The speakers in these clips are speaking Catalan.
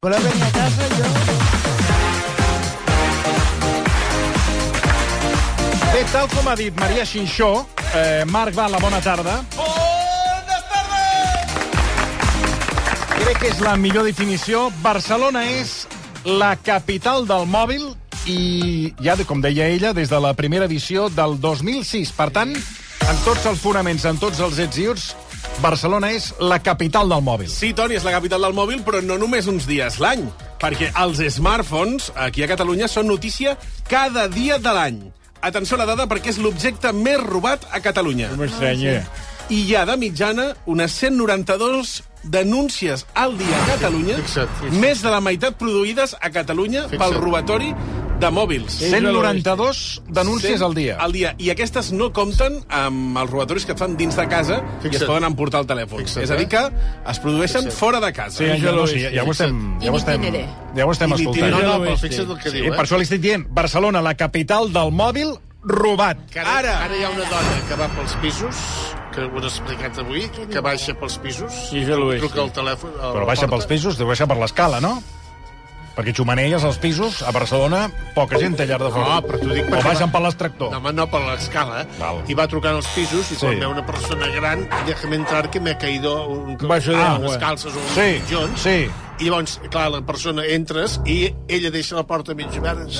Color venía a casa y yo... Bé, tal com ha dit Maria Xinxó, eh, Marc Bala, bona tarda. Crec que és la millor definició. Barcelona és la capital del mòbil i ja, de- com deia ella, des de la primera edició del 2006. Per tant, en tots els fonaments, en tots els ets i uts, Barcelona és la capital del mòbil. Sí, Toni, és la capital del mòbil, però no només uns dies l'any, perquè els smartphones aquí a Catalunya són notícia cada dia de l'any. Atenció a la dada perquè és l'objecte més robat a Catalunya. M'estranya. Ah, I hi ha de mitjana unes 192 denúncies al dia a Catalunya, Fixa't, fixa't. més de la meitat produïdes a Catalunya pel Fixa't. robatori de mòbils. 192 denúncies al dia. Al dia. I aquestes no compten amb els robatoris que et fan dins de casa i es Fixa't. poden emportar el telèfon. Fixa't, és a dir, eh? que es produeixen fora de casa. Sí, Àngel, no, sí, ja, ja ho estem, ja ho In estem, itinere. ja ho estem In escoltant. itinere. No, no, Ja però veus, fixa't el que Sí, diu, eh? per això li estic dient, Barcelona, la capital del mòbil, robat. Que ara, Ara. ara. ara hi ha una dona que va pels pisos, que ho han explicat avui, que baixa pels pisos, I és a l'oest. truca al telèfon... a la Però baixa pels porta. pisos, deu baixar per l'escala, no? Perquè xumanelles als pisos, a Barcelona, poca gent té llar de foc. No, Ah, però t'ho dic O perquè baixen va- per l'extractor. No, home, no per l'escala. eh? Val. I va trucant als pisos i Sí. quan veu una persona gran, déjame entrar que m'he caído un, Baixo de ah, agua. unes calces o uns Sí, mitjons. sí. I llavors, clar, la persona entres i ella deixa la porta mig oberta eh?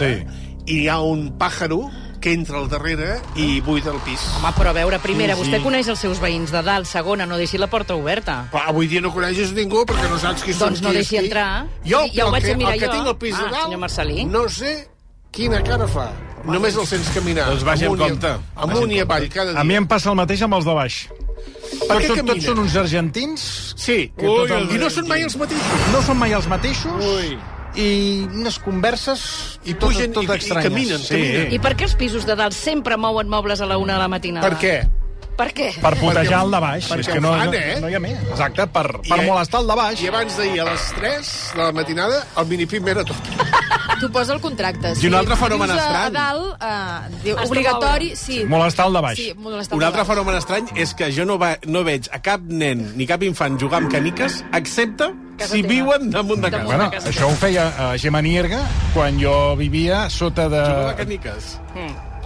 Sí. i hi ha un pàjaro que entra al darrere i buida el pis. Home, però a veure, primera, Sí, sí, sí. sí. vostè coneix els seus veïns de dalt. Segona, no deixi la porta oberta. Però avui dia no coneixes ningú perquè no saps qui són. Doncs no qui és deixi qui. entrar. Jo, Sí, ja ho el vaig que, mirar el que jo. tinc al pis de Ah, dalt, senyor Marcelí. no sé quina cara fa. Només el sents caminar. Doncs vagi amb amunt i- compte. Amunt i avall cada dia. A mi em passa el mateix amb els de baix. Perquè què són, tots caminen? són uns argentins, Sí. Que tot el- I no són mai els mateixos. no són mai els mateixos, Ui. i unes converses I tot, pugen tot i- i estranyes. caminen, sí. caminen. I per què els pisos de dalt sempre mouen mobles a la una de la matinada? Per què? Per què? Per putejar el de baix. perquè És que no, ho fan, no, eh? no hi ha més. Exacte, per, per I- eh, molestar el de baix. I abans d'ahir, a les 3 de la matinada, el minifilm era tot. Tu posa el contracte. I un altre fenomen dius a- estrany. A dalt, uh, diu, Has de obligatori, moure. sí. Molestar el de baix. Sí, molestar Un altre fenomen. fenomen estrany és que jo no, va, no veig a cap nen ni cap infant jugar amb caniques, excepte Casa si teva. viuen damunt de Damunt casa. Bueno, Una casa això ho feia eh, Gemma Nierga quan jo vivia sota Jugar a de... caniques.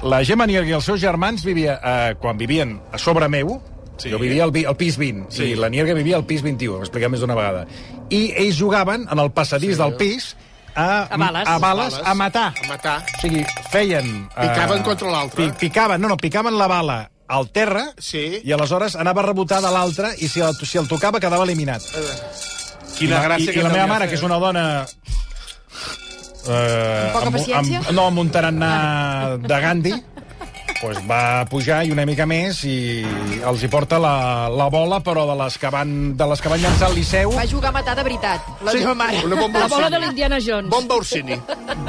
La Gemma Nierga i els seus germans vivia, eh, quan vivien a sobre meu, Sí. sí. jo vivia al, vi- al pis 20 sí. Sí. i la Nierga vivia al pis 21, ho he explicat més d'una vegada. I ells jugaven en el passadís sí. del pis a, A bales. a bales, Bales. a matar. A matar. O sigui, feien... eh, Picaven contra l'altre. pi- Picaven, no, no, picaven la bala al terra Sí. i aleshores anava a rebotar de l'altre i si el, si el tocava quedava eliminat. Eh, Quina I, gràcia i que la meva t'hauria mare, fet. que és una dona... Eh, poca amb, paciència? Amb, no, amb un tarannà de Gandhi, pues va pujar i una mica més i els hi porta la, la bola, però de les que van, de les que van llançar al Liceu, Va jugar a matar de veritat, la Sí. meva mare. Una bomba La bola de Orsini. l'Indiana Jones. Bomba Orsini.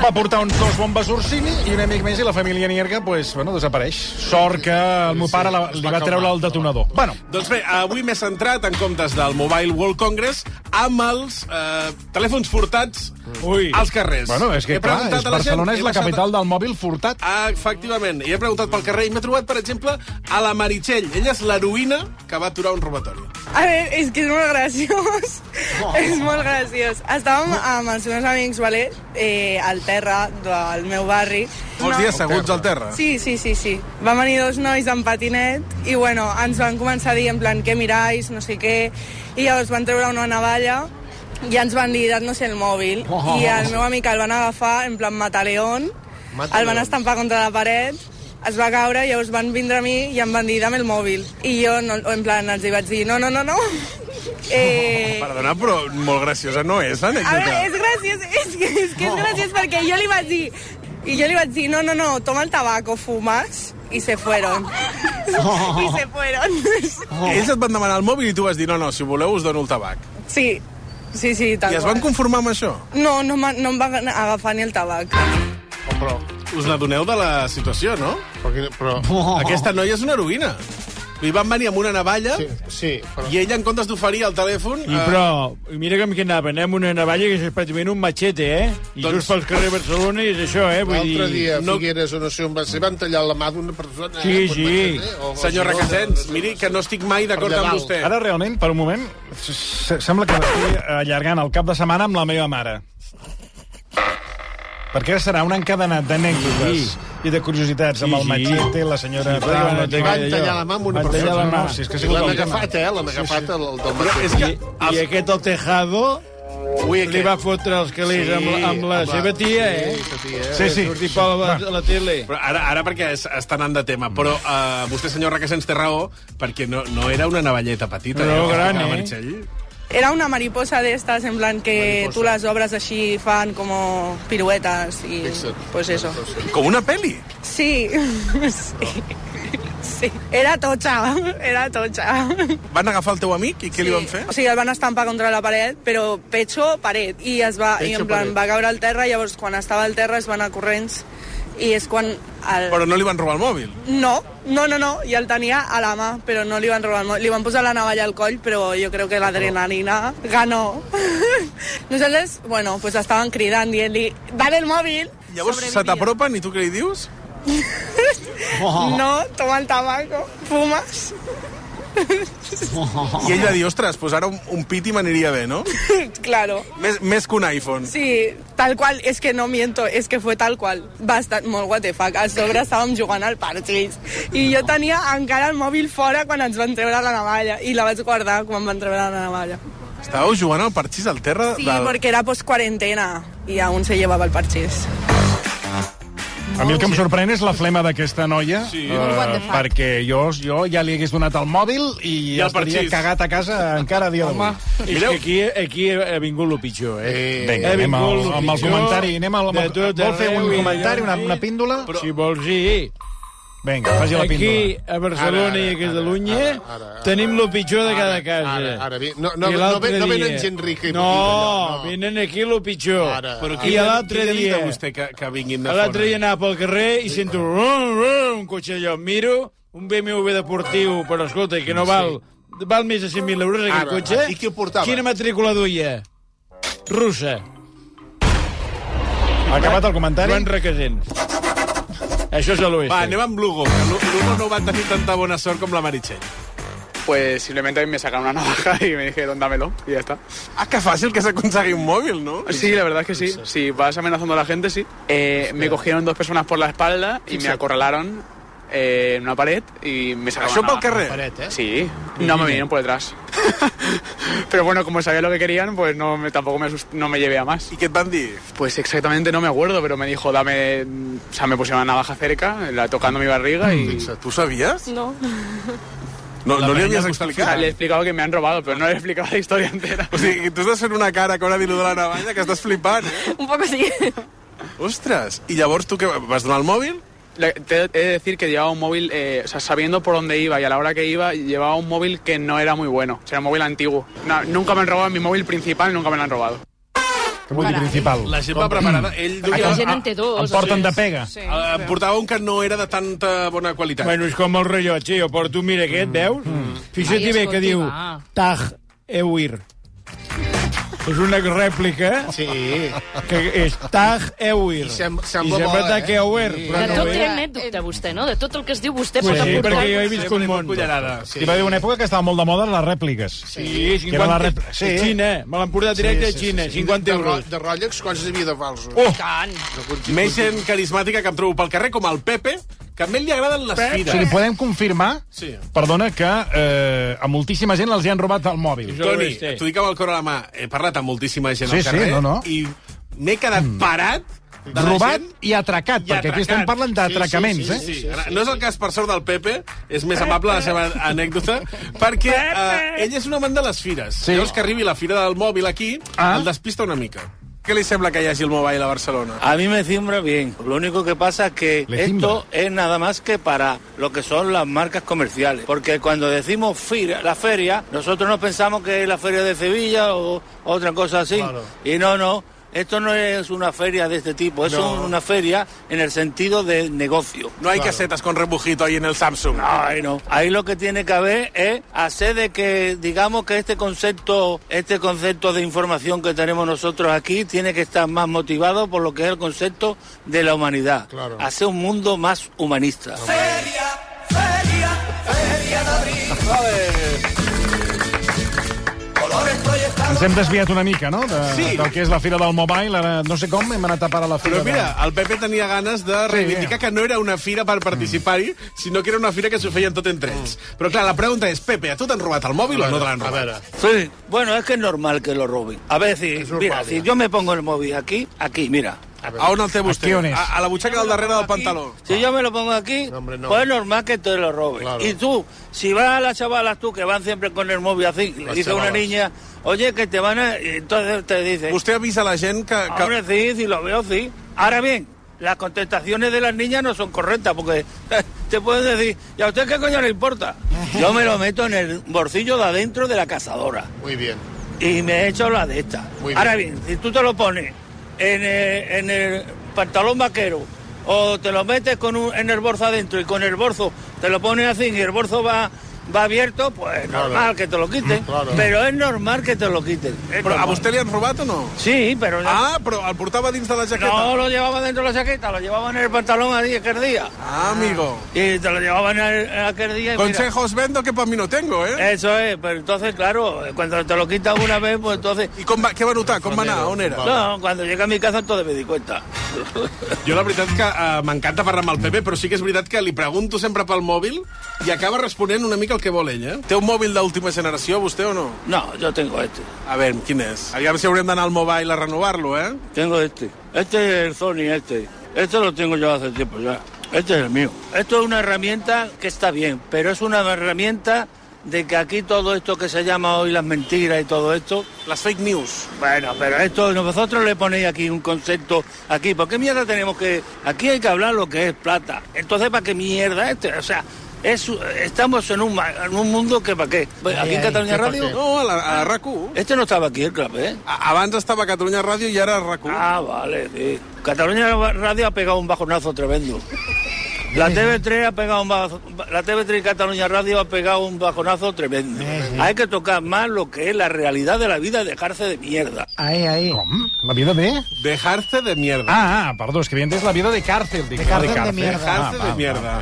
va portar uns dos bombes Ursini i una mica més i la família Nierga pues, bueno, desapareix. Sort que el meu pare la, li va treure el detonador. Bueno, Doncs bé, avui m'he centrat en comptes del Mobile World Congress amb els eh, telèfons furtats Ui. als carrers. bueno és que He clar, preguntat és a la gent, Barcelona he és la baixat- capital del mòbil furtat. Ah, Efectivament, i he preguntat pel carrer i m'he trobat, per exemple, a la Meritxell. Ella és l'heroïna que va aturar un robatori. A veure, és que és molt graciós. Oh. És molt graciós. Estàvem amb els meus amics, vale? eh, al terra del meu barri. Molts dies seguts al terra. Sí, sí, sí, sí. Van venir dos nois en patinet i, bueno, ens van començar a dir en plan, què mirais, no sé què, i llavors van treure una navalla i ens van dir, dar-nos el mòbil. Oh. I el meu amic el van agafar en plan mataleón, el van estampar contra la paret, es va caure, llavors van vindre a mi i em van dir, dame el mòbil. I jo, no, en plan, els hi vaig dir, no, no, no, no. Eh, Perdona, però molt graciosa no és a veure, l'anècdota. és graciós, és que és, que és graciós perquè jo li vaig dir... I jo li vaig dir, no, no, no, toma el tabaco, fumas, i se fueron. I se fueron. Oh. Ells et van demanar el mòbil i tu vas dir, no, no, si voleu us dono el tabac. Sí, sí, sí, tal I es van qual. conformar amb això? No, no, m'ha- no em van agafar ni el tabac. Us n'adoneu de la situació, no? Però, que- però... Oh. Oh. Aquesta noia és una heroïna. Li van venir amb una navalla Sí, sí. sí però... i ella, en comptes d'oferir el telèfon... I però, mira com que anaven, eh, amb una navalla que és pràcticament un machete, eh? I Doncs- just pel carrer de Barcelona i és això, eh? Vull L'altre dir... dia, no- no... Figueres, o no sé on va ser, van tallar la mà d'una persona... Sí, quan sí. va ser, eh, o- o eh, Senyor Girona, Requesens, no sé, miri no sé. que no estic mai d'acord Per amb llevant. vostè. Ara, realment, per un moment, s- s- sembla que m'estigui allargant el cap de setmana amb la meva mare. Perquè serà un encadenat d'anècdotes Sí. i de curiositats amb Sí, el sí. machete, la senyora... Sí, clar, no té Van gaire tallar jo. la mà amb una Van tallar persona. la mà. Sí, és que ha I sigut L'han el tema. agafat, eh? L'han agafat el, el del Però matí. és que... I, I aquest, el Tejado, Ui, li va fotre els calés amb, la- amb la seva tia, eh? Sí, sa tia, eh? Sí, sí. Sortir per la, a la tele. Però ara, ara perquè es, està anant de tema, però uh, vostè, senyor Requesens, té raó, perquè no, no era una navalleta petita. No, eh, que gran, tocava eh? Marxell. Era una mariposa d'estas, en plan que Mariposa. tú las obras así fan como piruetas y Fixa't. pues eso. Com una peli. Sí, sí. Sí. Era tocha, era tocha. Van agafar el teu amic i què sí. li van fer? O sigui, el van estampar contra la paret, però pecho, paret. I, es va, i Pecho, en plan, paret. va caure al terra, llavors quan estava al terra es van a corrents i és quan... El... Però no li van robar el mòbil. No, no, no, no, i el tenia a la mà, però no li van robar el mòbil. Li van posar la navalla al coll, però jo crec que l'adrenalina ganó. Nosaltres, bueno, pues estaven cridant, dient-li, dale el mòbil. Llavors se t'apropen i tu què li dius? No, toma el tabaco, fumes. I ell va dir, ostres, pues ara un, un piti m'aniria bé, no? claro. Més, més que un iPhone. Sí, tal qual, és que no miento, és que fue tal qual. Va estar molt what the fuck, a sobre estàvem jugant al parxís i jo tenia encara el mòbil fora quan ens van treure la navalla i la vaig guardar quan van treure la navalla. Estàveu jugant al parxís al terra Sí, del... porque era post-cuarentena y aún se llevaba el parchís. A mi el que em sorprèn és la flema d'aquesta noia, sí. Molt what the fuck. perquè jo, jo ja li hagués donat el mòbil i, I el estaria parxís. cagat a casa encara a dia d'avui. És que aquí, aquí ha vingut lo pitjor, eh? Vinga, Ha anem al, vingut lo amb el pitjor comentari. Anem al, de amb, tot vol fer un arreu i comentari, una, allà, una sí. píndola? Però... Si vols, sí. Vinga, faci la Aquí, píndola. a Barcelona Ara, i ara, a Catalunya, ara, ara, ara, tenim lo pitjor de cada ara, casa. ara, ara, vi- no- no- I no l'altre ven- no dia- venen gent rica i no, petita, allò, no. venen aquí lo pitjor. Ara, Però I l'altre dia, vostè que, que vinguin de l'altre dia fora? anava pel carrer i sento rum, rum, un cotxe allò, miro, un BMW deportiu, però escolta, que no val, val més de 100.000 euros aquell Ara, cotxe. i qui ho portava? Quina matrícula duia? Russa. Ha acabat el comentari? Joan Requesent. Això és a l'oest. Va, anem amb Lugo, que Lu- Lugo no va tenir tanta bona sort com la Meritxell. Pues simplemente me sacaron una navaja y me dijeron dámelo y ya está. Ah, que fàcil que s'aconsegui un mòbil, no? Sí, la verdad es que sí. Si vas amenazando a la gente, sí. Eh, me cogieron dos personas por la espalda y me acorralaron eh, en una pared y me sacaron Això una Ah, pel navaja. carrer. Paret, eh? Sí, no me vinieron por detrás. Pero bueno, como sabía lo que querían, pues no me, tampoco me, asust- no me llevé a más. I què et van dir? Pues exactamente no me acuerdo, pero me dijo, dame... O sea, me pusieron la navaja cerca, la tocando mi barriga y... Fixa't. Tu ho sabies? No. No, no li havies O sea, explicat? le he explicado que me han robado, pero no le he explicado la historia entera. O sigui, que tu estàs fent una cara que ara dir-ho de la navalla, que estàs flipant, eh? Un poco sí. Ostres, i llavors tu què, vas donar el mòbil? Le- Te he de decir que llevaba un móvil, eh, o sea, sabiendo por dónde iba y a la hora que iba, llevaba un móvil que no era muy bueno. O sea, era un móvil antiguo. No, nunca me han robado mi móvil principal, nunca me lo han robado. Que vull dir principal. La gent va preparada, ell duia... La gent en té dos. Em porten de pega. Sí. a- a- portava un que no era de tanta bona qualitat. Bueno, és com el rellotge, jo porto, mira aquest, veus? Mm. Ai, Fixa't bé escolti, que diu va. Taj Ewir. És una rèplica Sí. que és Taj Ewir. I sem- sembla I bo, eh? Taj Ewir. Sí. De Però no tot té és. anècdota, vostè, no? De tot el que es diu vostè Pues pot sí, aportar. perquè jo he vist Sempre un li fot món. Cullerada. Sí. Hi va haver una època que estaven molt de moda les rèpliques. Sí, Que era 50... la rep- Sí. sí. Xina, eh? me l'han portat directe Sí, a sí, Xina, sí, sí. 50 de, ro euros. de Rolex, quants n'hi havia de falsos? Oh! Tant. Més gent carismàtica que em trobo pel carrer, com el Pepe, que a ell li agraden les O fires. sigui, podem confirmar, Sí. perdona, que eh, a moltíssima gent els hi han robat el mòbil. Jo- Toni, Sí. t'ho dic amb el cor a la mà, he parlat amb moltíssima gent Sí, al sí, carrer no, no. i m'he quedat parat de la Robat gent i atracat, I perquè aquí atracat. estem parlant d'atracaments, Sí, sí, eh? Sí, ara, no és el cas, per sort, del Pepe, és més amable la seva anècdota, perquè eh, ell és un amant de les fires. Sí. Llavors que arribi la fira del mòbil aquí, ah. Ah. el despista una mica. Què li sembla que hi hagi el mobile a Barcelona? Ah, A mí me cimbra bien. Lo único que pasa es que Le esto es nada más que para lo que son las marcas comerciales. Porque cuando decimos fira- la feria, nosotros no pensamos que es la feria de Sevilla o otra cosa así. Y no, no. Esto no es una feria de este tipo, es No. un- una feria en el sentido de negocio. No hay casetas con rebujito ahí en el Samsung. Ay, no. Ahí lo que tiene que haber es hacer de que, digamos que este concepto, este concepto de información que tenemos nosotros aquí tiene que estar más motivado por lo que es el concepto de la humanidad. Claro. Ah, Hacer un mundo más humanista. Ens hem desviat una mica, no?, de, Sí. del que és la fira del mobile. Ara no sé com hem anat a parar a la fira Però mira, el Pepe tenia ganes de reivindicar que no era una fira per participar-hi, Mm. sinó que era una fira que s'ho feien tot entre ells. Però clar, la pregunta és, Pepe, a tu t'han robat el mòbil o no te l'han robat? Sí, bueno, es que es normal que lo roben. A ver, si, mira, si yo me pongo el móvil aquí, aquí, mira. A on el té vostè? Aquí on és? A, a la butxaca del darrere del pantaló. Si yo me lo pongo aquí, no. pues es normal que te lo roben. Claro. Y tú, si vas a las chavalas tú que van siempre con el móvil así, le Las dice a una chavalas. niña, oye, que te van a... y Entonces te dice... Usted avisa a la gente que... Ahora sí, sí, lo veo, sí. Ahora bien, las contestaciones de las niñas no son correctas porque eh, te pueden decir, ¿y a usted qué coño le importa? Yo me lo meto en el bolsillo de adentro de la cazadora. Muy bien. y me he hecho la de esta. Muy bien. Ahora bien, si tú te lo pones en el, en el pantalón vaquero o te lo metes con un- en el bolso adentro y con el bolso te lo pones así y el bolso va, va abierto, pues Claro. normal que te lo quiten. Però és normal que te lo quiten. Però a vostè li han robat o no? Sí, però... Ah, però el portava dins de la jaqueta. No lo llevaba dentro de la chaqueta, lo llevaba en el pantalón a aquel día. Ah, amigo. Y te lo llevaban a- a aquel día. y mira. Consejos vendo que para mí no tengo, ¿eh? Eso es, pero entonces, claro, cuando te lo quitas una vez, pues entonces... ¿Y con, qué van a usar? ¿Con maná? ¿On era? No, cuando llegué a mi casa entonces me di cuenta. Jo la veritat que uh, m'encanta parlar amb el Pepe, però sí que és veritat que li pregunto sempre pel mòbil i acaba responent una mica el que vol ell, eh? Té un mòbil d'última generació, vostè, o no? No, jo tengo este. A veure, quin és? Aviam si haurem d'anar al mobile a renovar-lo, eh? Tengo este. Este es el Sony, este. Este lo tengo yo hace tiempo ya. Este es el mío. Esto es una herramienta que está bien, pero es una herramienta de que aquí todo esto que se llama hoy las mentiras y todo esto... Las fake news. Bueno, pero esto vosotros le ponéis aquí un concepto aquí. ¿Por qué mierda tenemos que...? Aquí hay que hablar lo que es plata. Entonces, ¿para qué mierda este? O sea... es- estamos en un, ma- en un mundo que para qué. ¿Aquí en Cataluña Radio? No, a la, a la RAC1. Este no estava aquí, el clap, ¿eh? Abans estava a Catalunya Ràdio i ara a RAC1. Ah, vale, sí. Cataluña Radio ha pegado un bajonazo tremendo. La TV3 ha pegado un bajo- la TV3 y Cataluña Radio ha pegado un bajonazo tremendo. Hay que tocar más lo que es la realidad de la vida, dejarse de mierda. Ahí, ahí. Com? La vida de... Dejarse de mierda. Ah, ah, perdó, és que havia entès la vida de càrcel. Dic, De no càrcel de càrcel. Ah, mierda. Dejarse de va, va. Ah, mierda.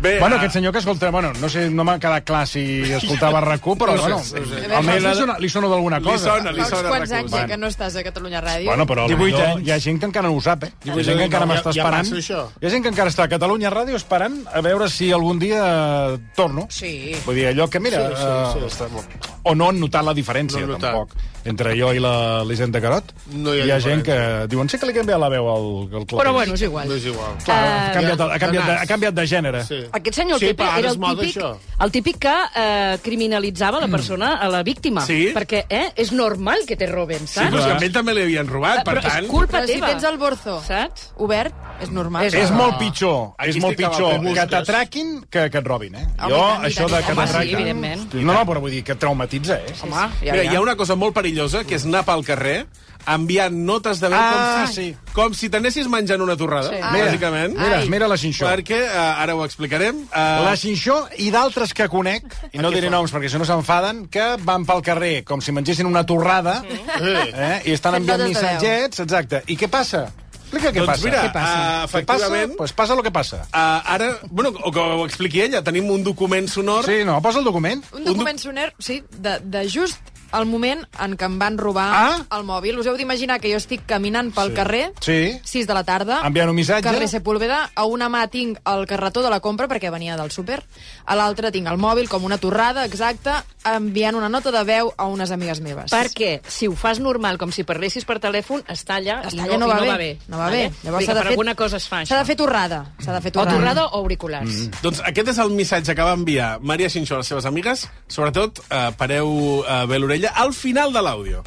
Bé, bueno, ah. aquest senyor que escolta... Bueno, no sé, no m'ha quedat clar si escoltava RAC1, però No sé, bueno, no sé. almenys li sona, li sona d'alguna Li cosa. sona, Fa uns quants eh, anys ja que no estàs a Catalunya Ràdio. Bueno, però potser potser hi ha gent que encara no ho sap, eh? Hi ha gent que encara Ja- m'està ja esperant. passa, això. Hi ha gent que encara està a Catalunya Ràdio esperant a veure si algun dia eh, torno. Sí. Vull dir, allò que, mira, Sí, sí, sí, eh, o no han notat la diferència, No han notat. tampoc. Entre jo i la l'Hisenda Carot, No hi ha gent diferència. que diuen, sí que li canvia la veu al, al Clopis. Però bueno, eh, és igual. No és igual. Clar, ha, canviat, Ja- ha, canviat de, de nas. ha canviat de gènere. Sí. Eh, Aquest senyor Sí, el Pepe però ara era és el moda, típic, això. Mm. el típic que eh, criminalitzava la persona, a la víctima. Sí? Perquè eh, és normal que te roben, Sí, saps? però és que a ell també li havien robat, per però és tant... culpa Però si teva. tens el borzo Saps? obert, és normal. És, Ah, és molt pitjor, Aquí és molt estic amb el pitjor Pepe que Bustos. t'atraquin que, que et robin, eh? Home, i jo, tant, i això tant, i de que tant. Home, sí, t'atraquin... evidentment. no, no, però vull dir que traumatitza, eh? Home, ja, Mira, ja. hi ha una cosa molt perillosa, que és anar pel carrer enviant notes de veu Ah, com si, sí. com si t'anessis menjant una torrada, Sí. sí. Ah. bàsicament. Mira, Ai. mira la Xinxó. Perquè, eh, ara ho explicarem, eh, Ah. La Xinxó i d'altres que conec, i no diré noms perquè si no s'enfaden, que van pel carrer com si mengessin una torrada eh, i estan Fent enviant notes de veu. missatgets, exacte. I què passa? Explica què Doncs passa. mira, què passa? eh, efectivament- Què passa? Pues passa el que passa. eh, ara... Bueno, o que ho expliqui ella, tenim un document sonor... Sí, no, posa el document. Un document soner, sí, de, de just el moment en què em van robar Ah. el mòbil. Us heu d'imaginar que jo estic caminant pel carrer, Sí. 6 de la tarda, Enviant un missatge. carrer Sepúlveda, a una mà tinc el carretó de la compra perquè venia del súper, a l'altra tinc el mòbil com una torrada, exacte, enviant una nota de veu a unes amigues meves. Perquè si ho fas normal, com si parlessis per telèfon, està allà, Està i, allà no, no, i va bé, no va bé. No va bé. Vale? Vull dir que per alguna cosa es fa, això. S'ha de fer torrada. S'ha de fer O torrada. torrada o auriculars. Mm. Doncs aquest és el missatge que va enviar Maria Xinxó a les seves amigues. Sobretot, eh, pareu eh, bé l'orella al final de l'àudio.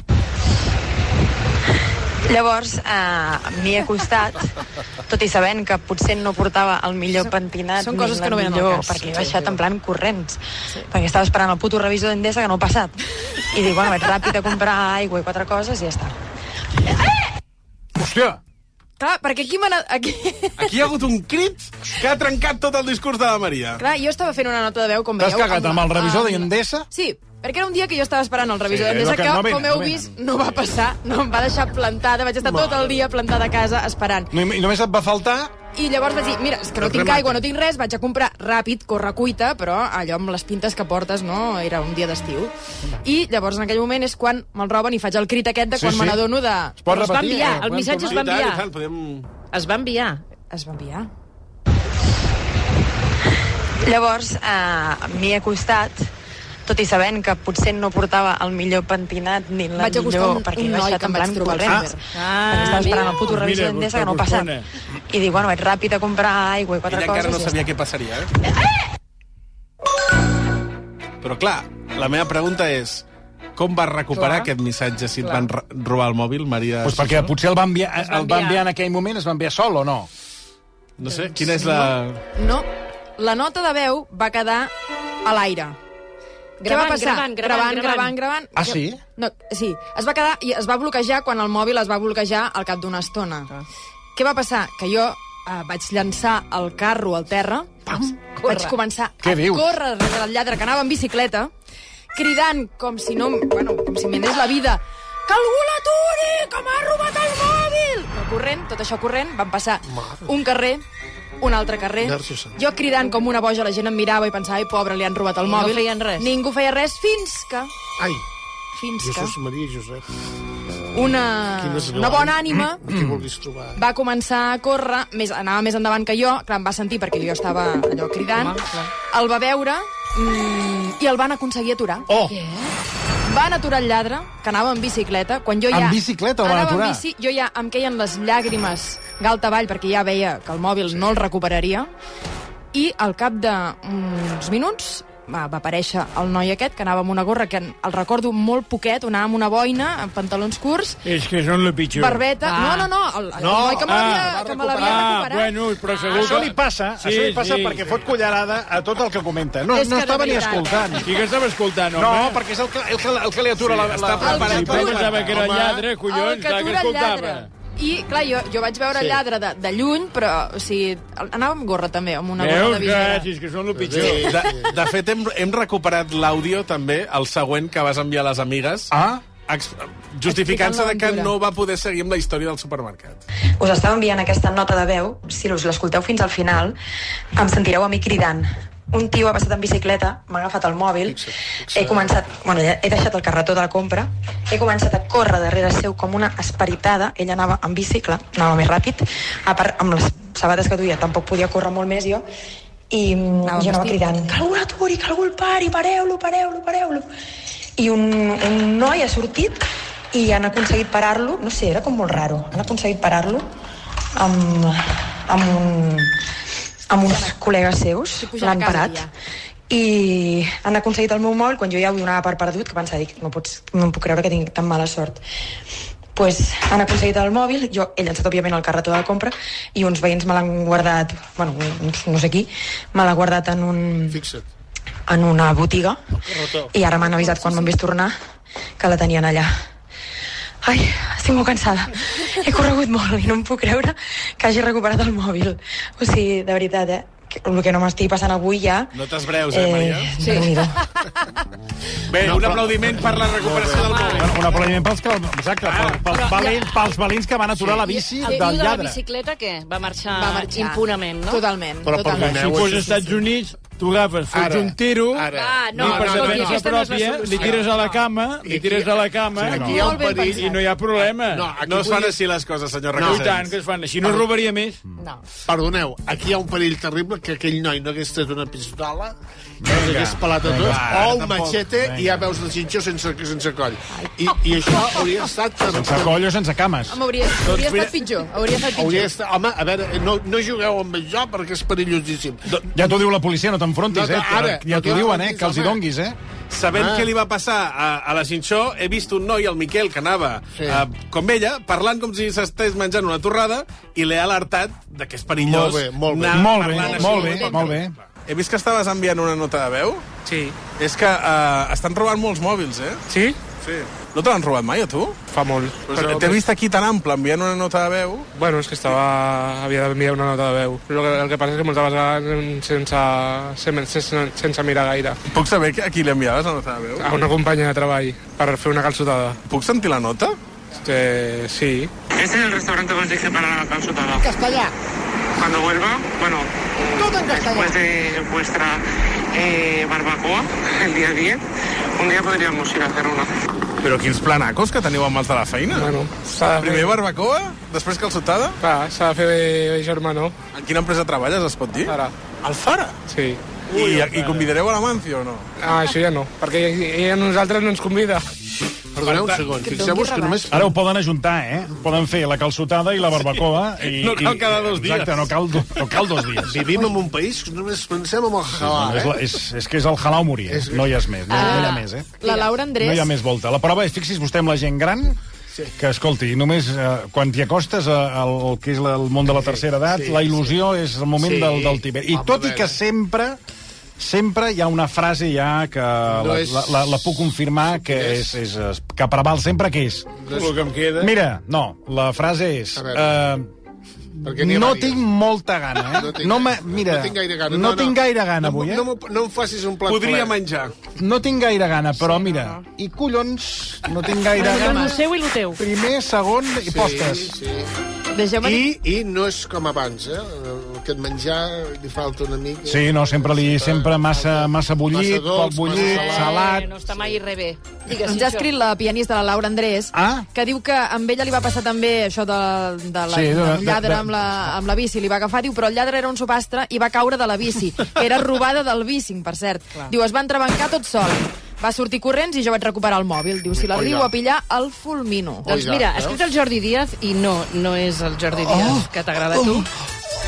Llavors, eh, m'hi he acostat, tot i sabent que potser no portava el millor pentinat, són ni coses que la no venen al millor, cas. perquè he baixat en plan corrents, perquè estava esperant el puto revisor d'Endesa que no ha passat. I dic, bueno, vaig ràpid a comprar aigua i quatre coses i ja està. Hòstia! Clar, perquè aquí m'ha anat... Aquí... Aquí hi ha hagut un crit que ha trencat tot el discurs de la Maria. Clar, jo estava fent una nota de veu, com T'has veieu... cagat amb el revisor amb- d'Endesa? Sí, perquè era un dia que jo estava esperant el revisor Sí, sí, d'Endesa, no, que, que no venen, com heu no venen. vist, no va passar, no em va deixar plantada, vaig estar tot el dia plantada a casa esperant. No, i només et va faltar... I llavors vaig dir, mira, és que no El tinc remate. aigua, no tinc res, vaig a comprar ràpid, correcuita, però allò amb les pintes que portes, no, era un dia d'estiu. I llavors en aquell moment és quan me'l roben i faig el crit aquest de Sí, quan sí. me n'adono de... Es pot Però es va repetir, enviar, eh? el Podem missatge es va tornar. enviar. I tant, i tant, Es va enviar. Es va enviar. Llavors, eh, m'hi he acostat, tot i sabent que potser no portava el millor pentinat ni la Vaig acostar millor, un- perquè un he noi baixat que em en vaig plan trobar al corrents. Rambler. Perquè estava esperant el puto mira, revisor d'Endesa que no busca, passa. busca, I dic, bueno, vaig ràpid a comprar aigua i Ella quatre encara no coses. sabia què passaria, eh? Però clar, la meva pregunta és com vas recuperar clar. Clar. aquest missatge si et Clar. van ra- robar el mòbil, Maria? Pues perquè potser el va, enviar, Es va el va enviar enviar en aquell moment, es va enviar sol o no? No sé, quina és la... No, la nota de veu va quedar a l'aire. Què va Gravant, passar? gravant, gravant, gravant, gravant. gravant. Ah, sí? No, sí, es va quedar i es va bloquejar quan el mòbil es va bloquejar al cap d'una estona. Ah. Què va passar? Que jo eh, vaig llançar el carro al terra, pam, vaig Corre. començar Què a dius? córrer darrere del lladre que anava en bicicleta, cridant com si no... Bueno, com si m'anés la vida. Que algú l'aturi, que m'ha robat el mòbil! Però corrent, tot això corrent, van passar un carrer, un altre carrer, Narciso Sant. jo cridant com una boja, la gent em mirava i pensava, ai, pobre, li han robat el eh? I no mòbil. feien res. Ningú feia res, fins que... Ai, Fins que... Jesús Maria i Josep. Una, Quines una bona ànima Qui Mm. vulguis trobar. va començar a córrer, més, anava més endavant que jo, clar, em va sentir perquè jo estava allò cridant, el va veure mm, i el van aconseguir aturar. Oh! Van aturar el lladre, que anava en bicicleta, quan jo ja... En bicicleta el van anava aturar? En bici, jo ja em queien les llàgrimes galta avall perquè ja veia que el mòbil no el recuperaria, i al cap d'uns minuts va, va aparèixer el noi aquest, que anava amb una gorra que en- el recordo molt poquet, anava amb una boina, amb pantalons curts, És que són lo pitjor. Barbeta. Ah. No, no, no. El, el no. noi que me l'havia ah, que me l'havia Ah, recuperat. bueno, però segur Això que- li passa, sí, això li passa sí, perquè sí. fot cullerada a tot el que comenta. No, És que no de estava ni veritat. escoltant. Qui que estava escoltant, home? No, perquè és el que, el que, el que li atura Sí, la... està la... preparat Sí, per però pensava que era home. lladre, collons, clar, que Oh, el escoltava. I, clar, jo, jo vaig veure Sí. el lladre de, de lluny, però, o sigui, anava amb gorra també, amb una gorra Veus, de clar, visera. si és que són lo pitjor. Sí, de, de fet, hem, hem recuperat l'àudio també, el següent que vas enviar a les amigues. Ah? Justificant-se de que Explicant l'aventura. no va poder seguir amb la història del supermercat. Us estava enviant aquesta nota de veu, si us l'escolteu fins al final, em sentireu a mi cridant. Un tio ha passat en bicicleta, m'ha agafat el mòbil, he començat... Bueno, ja he deixat el carretó de la compra, he començat a córrer darrere seu com una esperitada, ell anava en bicicle, anava més ràpid, a part, amb les sabates que duia tampoc podia córrer molt més jo, i mm, Anava jo anava vestit. cridant, que algú l'aturi, que algú el pari, pareu-lo, pareu-lo, pareu-lo. I un, un noi ha sortit i han aconseguit parar-lo, no sé, era com molt raro, han aconseguit parar-lo amb, amb, un, amb uns col·legues seus, Sí, puja a l'han casa, parat, ja. i han aconseguit el meu mòbil quan jo ja ho donava per perdut, que pensava, dic, no, pots, no em puc creure que tinc tan mala sort. Pues, han aconseguit el mòbil, jo he llançat, òbviament, el carretó de la compra i uns veïns me l'han guardat, bueno, uns, no sé qui, me l'ha guardat en un... Fixa't. en una botiga Carretó. i ara m'han avisat quan m'han vist tornar que la tenien allà. Ai, estic molt cansada. He corregut molt i no em puc creure que hagi recuperat el mòbil. O sigui, de veritat, eh? Que- El que no m'estigui passant avui ja... No t'esbreus, eh, Maria? Sí. Déu-n'hi-do. Bé, un aplaudiment per la recuperació del mòbil. Bueno, un aplaudiment pels, que, exacte, pels, pels, valents, pels valents que van aturar la bici El tio del de la lladre. bicicleta, què? Va marxar, Va marxar. Ah, impunament, no? Totalment, Però per totalment. Si Veus, fos sí, sí, als Estats Units, tu agafes, fots Ara, un tiro, ara. Ah, no, i per no, no, defensa aquesta no és la pròpia solució. li tires a la cama, li tires a la cama, Aquí i hi ha Molt un ben perill... pensat. no hi ha problema. No, aquí No es fan vull- així les coses, senyor No, Recasens. I tant, que es fan així. No es robaria més. Mm. No. Perdoneu, aquí hi ha un perill terrible que aquell noi no hagués tret una pistola i ens hagués pelat a tots, Vinga, o un tampoc. machete i ja veus la xinxó sense, sense coll. I, I això hauria estat... Sense coll o sense cames. Home, hauria, Doncs hauria mira- estat pitjor, hauria estat pitjor. Hauria estat... Home, a veure, no, no jugueu amb això perquè és perillosíssim. Ja t'ho diu la policia, no t'enfrontis, No, no, eh? ara, ja no t'ho t'hi diuen, eh? enfrontis, Que els hi home. donguis, eh? Sabent Ah. què li va passar a, a la Xinxó, he vist un noi, el Miquel, que anava Sí. sí. com ella, parlant com si s'estés menjant una torrada, i l'he alertat de que és perillós Molt bé, molt bé. anar Molt bé, parlant així. molt bé, molt bé. He vist que estaves enviant una nota de veu. Sí. És que eh, estan robant molts mòbils, eh? Sí? Sí. No te l'han robat mai, a tu? Fa molt. Pues T'he vist aquí tan ample, enviant una nota de veu. Bueno, és que estava... havia d'enviar una nota de veu. El que, el que passa és que moltes vegades sense, sense, sense mirar gaire. Puc saber que a qui li enviaves la nota de veu? Ah. A una companya de treball, per fer una calçotada. Puc sentir la nota? Eh, sí. Este es el restaurante que os dije para la calzotada. Castellà. Cuando vuelva, bueno, Todo en castellà. después de vuestra eh, barbacoa, el día 10, un día podríamos ir a hacer una. Però quins planacos que teniu amb els de la feina. Bueno, s'ha de fer- Primer barbacoa, després calçotada. Clar, s'ha de fer bé, germano. En quina empresa treballes, es pot dir? Alfara. Alfara? Sí. I, I convidareu a l'Amancio o no? Ah, això ja no, perquè ella a nosaltres no ens convida. Perdoneu un segon, fixeu-vos que només... Ara ho poden ajuntar, eh? Poden fer la calçotada i la barbacoa. I, No cal i- cada dos dies. Exacte, no cal, do- no cal dos dies. Vivim en un país que només pensem en el halal, és, la, eh? és, és que és el halal morir, eh? no hi has més, no, no hi ha Ah, més, eh? La Laura Andrés... No hi ha més volta. La prova és, fixi's vostè amb la gent gran, sí. que, escolti, només eh, quan t'hi acostes a- al al que és la- el món de la tercera edat, sí, sí, la il·lusió sí. és el moment Sí. sí. del, del Tibet. I Home, tot a i que veure. sempre sempre hi ha una frase ja que no la, és- la, la, la puc confirmar que, és, és, és, que preval sempre que és. No és- El que em queda. Mira, no, la frase és... A Eh, Perquè n'hi ha no vàries. tinc molta gana, eh? No tinc, no, me- mira, no tinc gaire gana. No, no tinc gaire gana avui, eh? No, m'ho- no em facis un plat Podria menjar. No tinc gaire gana, però sí, mira, no. i collons, no tinc gaire Bueno, gana. el seu i el teu. Primer, segon i Sí, postres. sí. Deixeu-me I, I no és com abans, eh? El- Aquest menjar li falta una mica... Sí, no, sempre li sempre massa, massa bullit, Massa dolç, poc bullit, massa salat... No està mai res bé. Digues, Ens ha escrit la pianista, la Laura Andrés, ah? que diu que amb ella li va passar també això de, de la, Sí, de- del de- lladre de- amb, la, amb la bici. Li va agafar, diu, però el lladre era un subastre i va caure de la bici. que Era robada del bicing, per cert. Clar. Diu, es va entrebancar tot sol. Va sortir corrents i jo vaig recuperar el mòbil. Diu, si l'Adriu Oiga. a pillar, el fulmino. Doncs mira, ha escrit el Jordi Díaz i no, no és el Jordi Oh, Díaz que t'agrada a tu.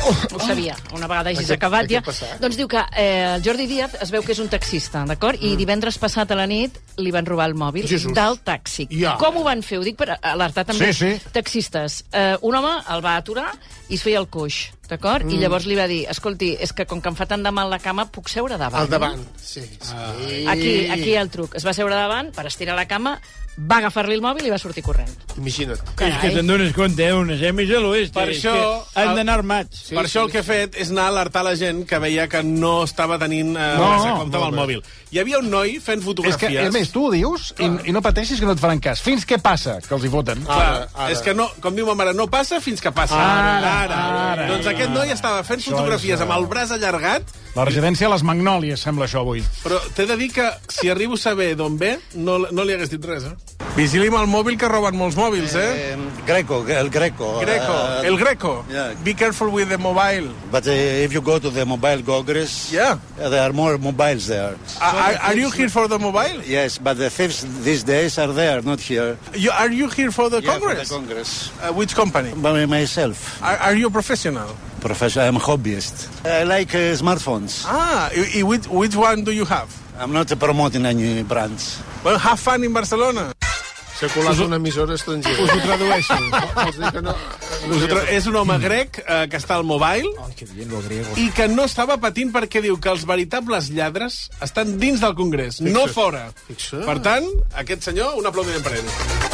Ho sabia, una vegada hagis Què- acabat què ja. ha oh. passat? Doncs diu que eh, el Jordi Díaz es veu que és un taxista, d'acord? I divendres passat a la nit li van robar el mòbil Mm. Jesús. del taxi. Ja. Com ho van fer? Ho dic per alertar també Sí, sí. taxistes. Eh, un home el va aturar i es feia el coix, d'acord? Mm. I llavors li va dir, escolti, és que com que em fa tant de mal la cama, puc seure davant? Al davant, sí. Ah. sí. Aquí, aquí el truc. Es va seure davant per estirar la cama, va agafar-li el mòbil i va sortir corrent. Imagina't. És que te'n dones compte, eh? Unes emis a l'oest. eh? Per és això- Que han d'anar armats. Sí, per això el que he fet és anar a alertar la gent que veia que no estava tenint eh, No, no, massa compte amb el molt bé. mòbil. Hi havia un noi fent És que, fotografies... a més, tu ho dius i, i no pateixis que no et faran cas. Fins què passa, que els hi foten. Ah. Clar, és que no, com diu ma mare, no passa fins que passa. Ara, ara. doncs aquest noi estava fent fotografies amb el braç allargat, La residència a les Magnòlies, sembla això, avui. però t'he de dir que si arribo a saber d'on ve, no, no li hagués dit res, eh? Vigili amb el mòbil, que roben molts mòbils, eh? Greco, el Greco. Greco, uh, Eh, el Greco. yeah. Be careful with the mobile. But uh, if you go to the mobile Congress, yeah, there are more mobiles there. Are, are you here for the mobile? Yes, but the thieves these days are there, not here. You, are you here for the Yeah, for the Congress? Congress. Uh, which company? By myself, Are, are you a professional? professor, I'm a hobbyist. I like uh, smartphones. Ah, i- i which, which one do you have? I'm not promoting any brands. Well, have fun in Barcelona. S'ha colat una emissora estrangera. Us ho tradueixo. Vols dir que no... Nosaltres, és un home grec eh, que està al mobile i que no estava patint perquè diu que els veritables lladres estan dins del Congrés, no Fixa't. fora. Fixa't. Per tant, aquest senyor, un aplaudiment per ell.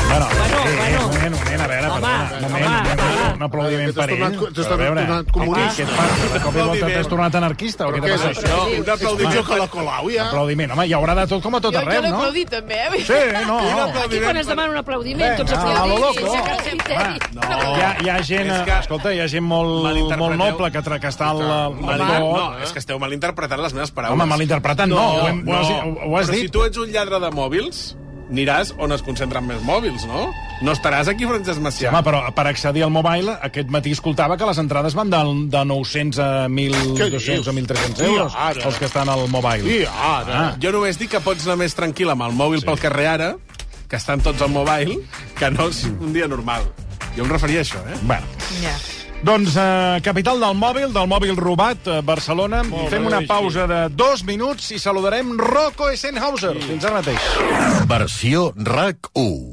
Bueno, bueno, eh, bueno. Un moment, un moment, a veure, home, perdona. Un moment, un moment, un aplaudiment per ell. tornat- t'has A veure, tornat què- comunista. Què et passa? De cop i volta t'has tornat anarquista? O què t'ha Què és passat? això? Un aplaudiment Home, que la Colau, ja. Aplaudiment. Home, hi haurà de tot com a tot jo arreu, l'he no? aplaudit, també, eh? Sí, no. Aquí quan es demana un aplaudiment, tots Vinga, a lo aplaudim. loco. sense cap criteri. No. Hi, ha, hi ha gent, que... escolta, hi ha gent molt, molt noble que, tra- que està al... al Mal, balcó. no, eh. és que esteu malinterpretant les meves paraules. Home, malinterpretant no, ho hem- ho has- ho has Però dit. si tu ets un lladre de mòbils, aniràs on es concentren més mòbils, no? No estaràs aquí, Francesc Sí, Macià. home, però per accedir al mobile, aquest matí escoltava que les entrades van de, de 900 a 1.200 a 1.300 I euros, ara. els que estan al mobile. I ara. Ah. Jo només dic que pots anar més tranquil amb el mòbil sí. pel carrer ara, que estan tots al mobile, que no és un dia normal. Jo em referia a això, eh? Bueno. Doncs eh, capital del mòbil, del mòbil robat, eh, Barcelona. Molt Fem bé, una sí. pausa de dos minuts i saludarem Rocco Essenhauser. Fins ara mateix. Versió RAC 1.